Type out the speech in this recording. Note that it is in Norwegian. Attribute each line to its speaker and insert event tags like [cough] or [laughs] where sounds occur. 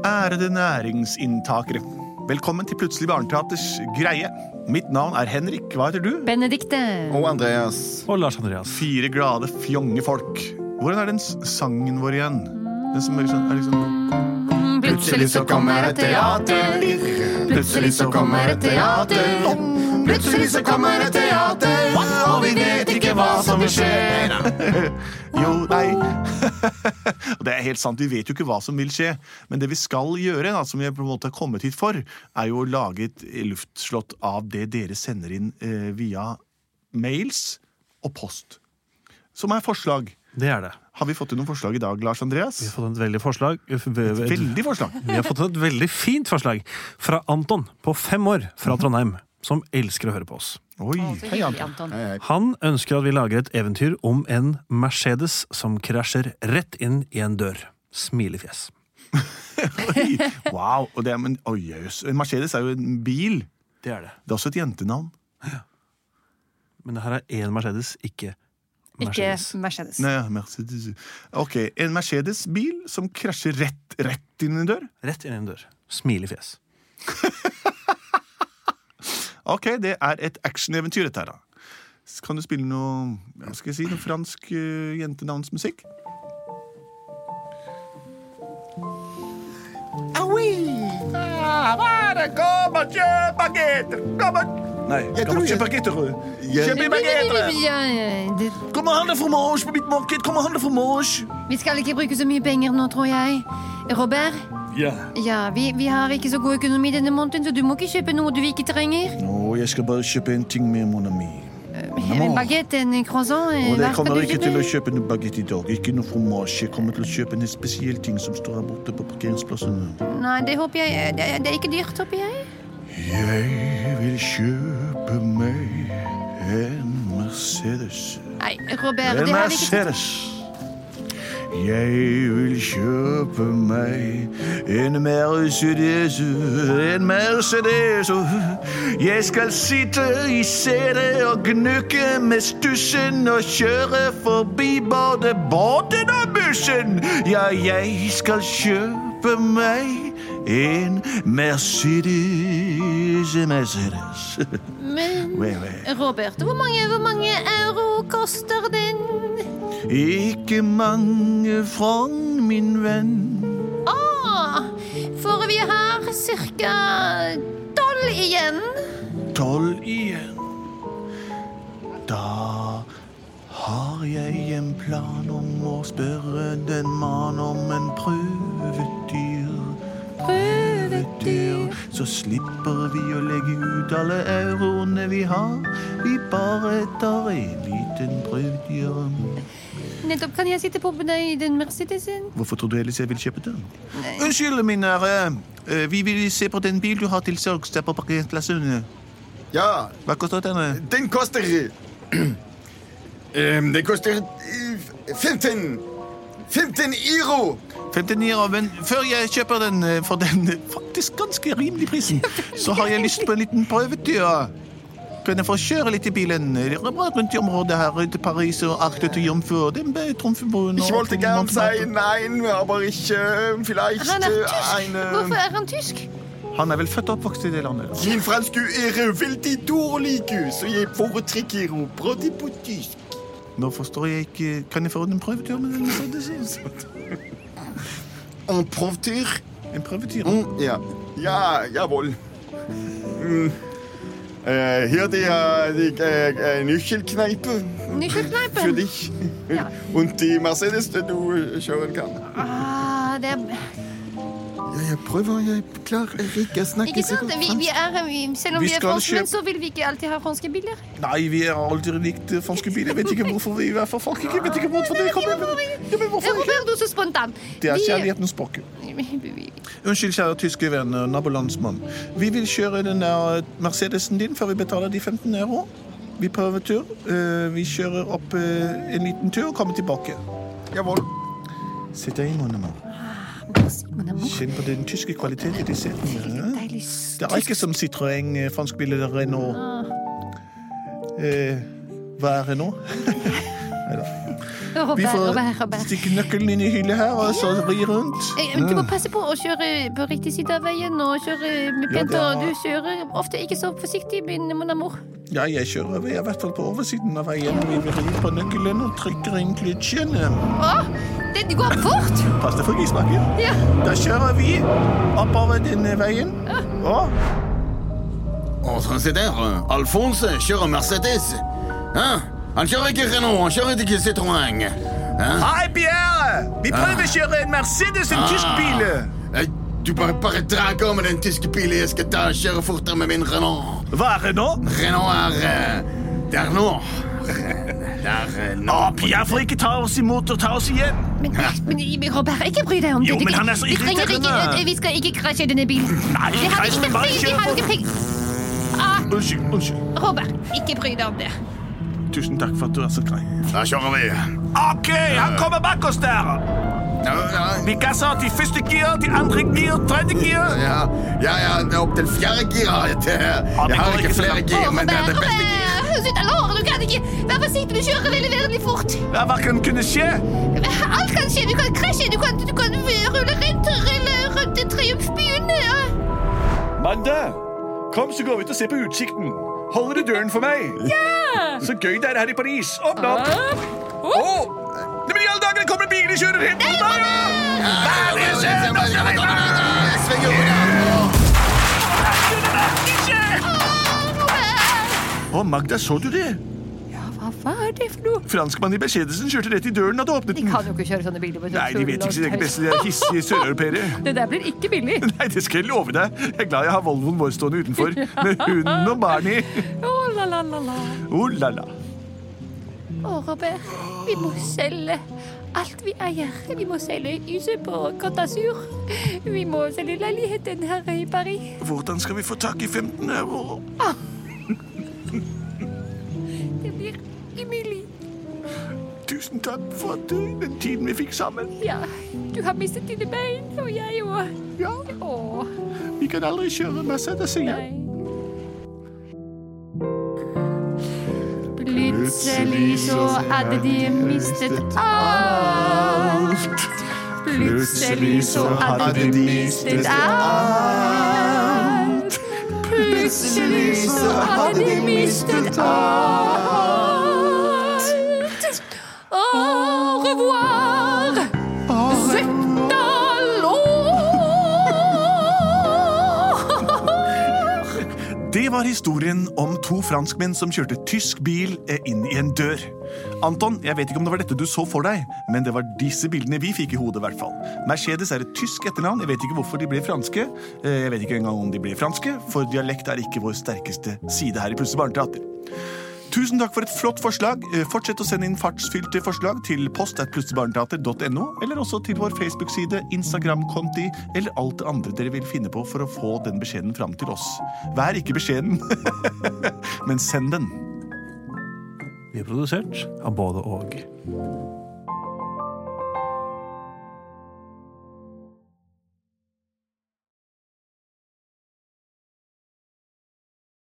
Speaker 1: Ærede næringsinntakere. Velkommen til Plutselig barneteaters greie. Mitt navn er Henrik. Hva heter du?
Speaker 2: Benedikte.
Speaker 3: Og Andreas.
Speaker 4: Og Lars Andreas.
Speaker 1: Fire glade, fjonge folk. Hvordan er den s- sangen vår igjen? Den som er liksom, er liksom
Speaker 3: Plutselig så kommer et teater. Plutselig så kommer et teater. Plutselig så kommer et teater, og vi vet ikke hva som vil skje.
Speaker 1: Jo, nei [laughs] Og Det er helt sant. Vi vet jo ikke hva som vil skje. Men det vi skal gjøre, da, som vi på en måte har kommet hit for, er jo å lage et luftslott av det dere sender inn eh, via mails og post. Som er forslag.
Speaker 4: Det er det.
Speaker 1: Har vi fått inn noen forslag i dag, Lars
Speaker 4: Vi har
Speaker 1: Andreas?
Speaker 4: fått et veldig forslag.
Speaker 1: Veldig forslag.
Speaker 4: Vi har fått et veldig fint forslag fra Anton på fem år fra Trondheim, som elsker å høre på oss.
Speaker 1: Oi. Hei, Anton.
Speaker 2: Anton.
Speaker 4: Han ønsker at vi lager et eventyr om en Mercedes som krasjer rett inn i en dør. Smilefjes.
Speaker 1: Oi, wow, og det er, men, oi, jøss. En Mercedes er jo en bil.
Speaker 4: Det er det.
Speaker 1: Det er også et jentenavn.
Speaker 4: Men det her er én Mercedes, ikke
Speaker 2: Ikke
Speaker 4: Mercedes.
Speaker 2: Mercedes.
Speaker 1: Nei, ja, Mercedes. Ok, En Mercedes-bil som krasjer rett, rett inn i en dør.
Speaker 4: Rett inn i en dør. Smilefjes.
Speaker 1: Ok, Det er et actioneventyr, dette her. da. S- Kan du spille noe hva skal jeg si, noe fransk eh, jentenavnsmusikk?
Speaker 3: Ah
Speaker 1: Nei.
Speaker 3: Jeg
Speaker 1: Kom
Speaker 3: tror
Speaker 1: og
Speaker 3: jeg-
Speaker 1: kjøp baguetter.
Speaker 3: Jeg-
Speaker 1: Kjøp baguetter!
Speaker 2: Ja, ja, det-
Speaker 1: Kom og handle fromage på mitt marked! Kom og handle fromage!
Speaker 2: Vi skal ikke bruke så mye penger nå, tror jeg. Robert,
Speaker 1: Ja.
Speaker 2: ja, vi, vi har ikke så god økonomi denne måneden, så du må ikke kjøpe noe du ikke trenger.
Speaker 1: Nå, Oh, jeg skal bare kjøpe en ting med mon ami.
Speaker 2: En baguette, en croissant eh,
Speaker 1: Og
Speaker 2: hva
Speaker 1: jeg
Speaker 2: skal
Speaker 1: kommer
Speaker 2: du
Speaker 1: ikke til å kjøpe noe baguette i dag. Ikke noe fromasje. Jeg kommer til å kjøpe en spesiell ting som står her borte på parkeringsplassen.
Speaker 2: Nei, det håper jeg eh, Det, er- det er ikke dyrt, håper jeg.
Speaker 1: Jeg vil kjøpe meg en Mercedes.
Speaker 2: Nei, Robert,
Speaker 1: En
Speaker 2: det har vi ikke
Speaker 1: Mercedes. Jeg vil kjøpe meg en Mercedes, en Mercedes. Jeg skal sitte i setet og gnukke med stussen og kjøre forbi både båten og bussen. Ja, jeg skal kjøpe meg en Mercedes, en Mercedes.
Speaker 2: Men
Speaker 1: Wait, wait.
Speaker 2: Robert, hvor mange, hvor mange euro koster den?
Speaker 1: Ikke mange frang, min venn.
Speaker 2: Å, for vi har cirka tolv igjen.
Speaker 1: Tolv igjen. Da har jeg en plan om å spørre den mann om en prøvedyr. Prøvedyr. Så slipper vi å legge ut alle euroene vi har. Vi bare tar en liten prøvedyr.
Speaker 2: Nettopp kan jeg sitte på med deg i den Mercedesen.
Speaker 1: Hvorfor tror du ellers jeg vil kjøpe den? Unnskyld, min ære. Eh, Vi vil se på den bil du har til salgs der på parkeringsplassen.
Speaker 3: Ja,
Speaker 1: Hva koster den?
Speaker 3: den koster [clears throat] Ehm, Den koster eh, 15 15 euro!
Speaker 1: 59 euro, men før jeg kjøper den eh, for den eh, faktisk ganske rimelig prisen, så har jeg lyst på en liten prøvetur. Kunne få kjøre litt i bilen. Det er bra rundt i området her, til Paris og Arc de Triomphe. Den ble Tromfebroen og-
Speaker 3: Ich wollte gern sein, nein, aber ich äh, vielleicht
Speaker 2: Han er tysk.
Speaker 3: äh,
Speaker 2: Hvorfor
Speaker 3: eine...
Speaker 2: er han tysk?
Speaker 1: Han er vel født og oppvokst i det landet? da?
Speaker 3: Jeanfrans, du er veldig dårlig, så jeg foretrekker å prate på tysk.
Speaker 1: Nå forstår jeg ikke Kan jeg få en prøvetur med den? Mercedes?
Speaker 3: En prøvetur?
Speaker 1: En prøvetur?
Speaker 3: Mm, ja. Ja, jawohl. Mm. Äh, hier die, äh, die äh, äh, Nüchelkneipe für
Speaker 2: Nykjøpkneipen.
Speaker 3: dich.
Speaker 2: Ja.
Speaker 3: Und die Mercedes, die du äh, schauen kannst.
Speaker 2: Ah, det er...
Speaker 3: Ja, jeg prøver, jeg klarer ikke å
Speaker 2: Ikke sant? Vi, vi er, vi, selv om
Speaker 1: Vi
Speaker 2: vi, er
Speaker 1: skal
Speaker 2: franskmenn,
Speaker 1: kjøpe-
Speaker 2: så vil vi ikke alltid ha franske biler.
Speaker 1: Nei, vi har aldri likt eh, franske biler. Jeg vet ikke hvorfor vi er fra Frankrike. Jeg vet ikke hvorfor det kommer. men- Ja, men hvorfor
Speaker 2: Robert, du suspend sånt da.
Speaker 5: Det er
Speaker 2: Vi-
Speaker 5: kjærlighetens språk. Unnskyld, kjære tyske venner, nabolandsmann. Vi vil kjøre den der eh, Mercedesen din før vi betaler de 15 euro. Vi prøver tur. Eh, Vi kjører opp eh, en liten tur og kommer tilbake.
Speaker 3: Jawohl.
Speaker 5: Sett deg inn, Monnemar.
Speaker 2: Mon amour,
Speaker 5: Kjenn på den tyske kvaliteten i
Speaker 2: [laughs]
Speaker 5: setene.
Speaker 2: deilig
Speaker 5: Det er ikke som Citroën, eh, fransk bil eller Renault. Eh, hva er Renault? Vi
Speaker 2: Robert, Robert,
Speaker 5: får
Speaker 2: Robert.
Speaker 5: stikke nøkkelen inn i hylla her og så vri rundt.
Speaker 2: Eh, men Du må passe på å kjøre på riktig side av veien og kjøre med
Speaker 5: Ja,
Speaker 2: pent.
Speaker 5: det er-
Speaker 2: og Du kjører ofte ikke så forsiktig, min mon amour.
Speaker 5: Ja, jeg kjører over, i hvert fall på oversiden av veien. Vi vrir på nøkkelen og trykker inn kløtsjen.
Speaker 2: Å, det går fort!
Speaker 5: Pass deg for grisbakken.
Speaker 2: Ja.
Speaker 5: Da kjører vi oppover denne veien. Og
Speaker 3: Entre se der. Alphonse kjører Mercedes. Hæ? Han kjører ikke Renault, han kjører ikke Citroën. Hæ?
Speaker 5: Hei, Pierre! Vi prøver å kjøre en Mercedes, en tysk bil.
Speaker 3: Eh, Ah. Du bare, bare drager med den tyske bilen. Jeg skal da kjøre fortere med min Renault.
Speaker 5: Hva er det nå?
Speaker 3: Renault er eh, Der nå. Der eh, nå.
Speaker 5: Ah, Pierre får ikke ta oss imot og ta oss igjen.
Speaker 2: Men, men, men Robert, ikke bry deg om det.
Speaker 5: Jo,
Speaker 2: Det-
Speaker 5: men han er så
Speaker 2: vi trenger
Speaker 5: irriterende.
Speaker 2: ikke- Vi skal ikke krasje denne bilen.
Speaker 5: Nei,
Speaker 2: vi har
Speaker 5: krasj,
Speaker 2: ikke
Speaker 5: men bare
Speaker 2: penger, vi
Speaker 5: kjør
Speaker 2: har
Speaker 5: på.
Speaker 2: ikke penger. Ah,
Speaker 5: Unnskyld. unnskyld.
Speaker 2: Robert, ikke bry deg om det.
Speaker 5: Tusen takk for at du er så grei.
Speaker 3: Da kjører vi.
Speaker 5: Ok, han kommer bak oss der.
Speaker 3: Ja, ja,
Speaker 5: Vi gasser til første gir, til andre gir, tredje gir.
Speaker 3: ja, ja, ja nou, det er opp til fjerde gir. har Jeg til. Jeg har
Speaker 5: går ikke
Speaker 3: ikke
Speaker 5: så
Speaker 3: flere
Speaker 5: langt.
Speaker 3: gir, men det er
Speaker 2: Robert,
Speaker 3: det beste gir.
Speaker 2: Robert, slutt å låre, du kan ikke. Vær forsiktig, du kjører veldig, veldig fort.
Speaker 5: Ja, Hva kan kunne skje?
Speaker 2: Alt kan skje, du kan krasje, du kan, du kan rulle rundt, rulle rundt i triumfbyen. Ja.
Speaker 5: Mandag! Kom, så går vi ut og ser på utsikten. Holder du døren for meg? Ja! Så gøy det er her i Paris. Åpne opp. Åh! Nei, men i alle dager, det kommer en bil og kjører rett mot meg! ja! Hva er det som skjer? Å, Magda, så du det?
Speaker 2: Hva var det for noe?
Speaker 5: Franskmannen i Beskjedelsen kjørte rett i døren da du åpnet
Speaker 2: De
Speaker 5: den.
Speaker 2: kan jo ikke kjøre sånne biler. på
Speaker 5: Nei, de vet ikke sitt eget beste. De er hissige søreuropeere.
Speaker 2: Det der blir ikke billig.
Speaker 5: [laughs] Nei, det skal jeg love deg. Jeg er glad jeg har Volvoen vår stående
Speaker 2: [laughs]
Speaker 5: utenfor med hunden og barnet i.
Speaker 2: Åh, la, la, la, la.
Speaker 5: Oh la la.
Speaker 2: Å, Robert, vi må selge alt vi eier. Vi må selge huset på Côte d'Azur. Vi må selge leiligheten her i Paris.
Speaker 5: Hvordan skal vi få tak i 15 euro?
Speaker 2: Det blir umulig.
Speaker 5: Tusen takk for at du, den tiden vi fikk sammen.
Speaker 2: Ja, du har mistet dine bein, og jeg òg.
Speaker 5: Ja,
Speaker 2: Åh,
Speaker 5: vi kan eh, aldri kjøre Mercedes igjen.
Speaker 2: nei. Plutselig så hadde de mistet alt. Plutselig så hadde de mistet alt. Plutselig så hadde de mistet alt. Au revoir, [laughs] Zetalor.
Speaker 5: Det var historien om to franskmenn som kjørte tysk bil eh, inn i en dør. Anton, jeg vet ikke om det var dette du så for deg, men det var disse bildene vi fikk i hodet. i hvert fall. Mercedes er et tysk etternavn. Jeg vet ikke hvorfor de ble franske. Eh, Jeg vet ikke engang om de ble franske, for dialekt er ikke vår sterkeste side her i Plutselig barneteater. Tusen takk for et flott forslag. Eh, Fortsett å sende inn fartsfylte forslag til post at plutseligbarneteater.no, eller også til vår Facebook-side, Instagram-konti eller alt det andre dere vil finne på for å få den beskjeden fram til oss. Vær ikke beskjeden, [laughs] men send den.
Speaker 4: Vi er produsert av både og.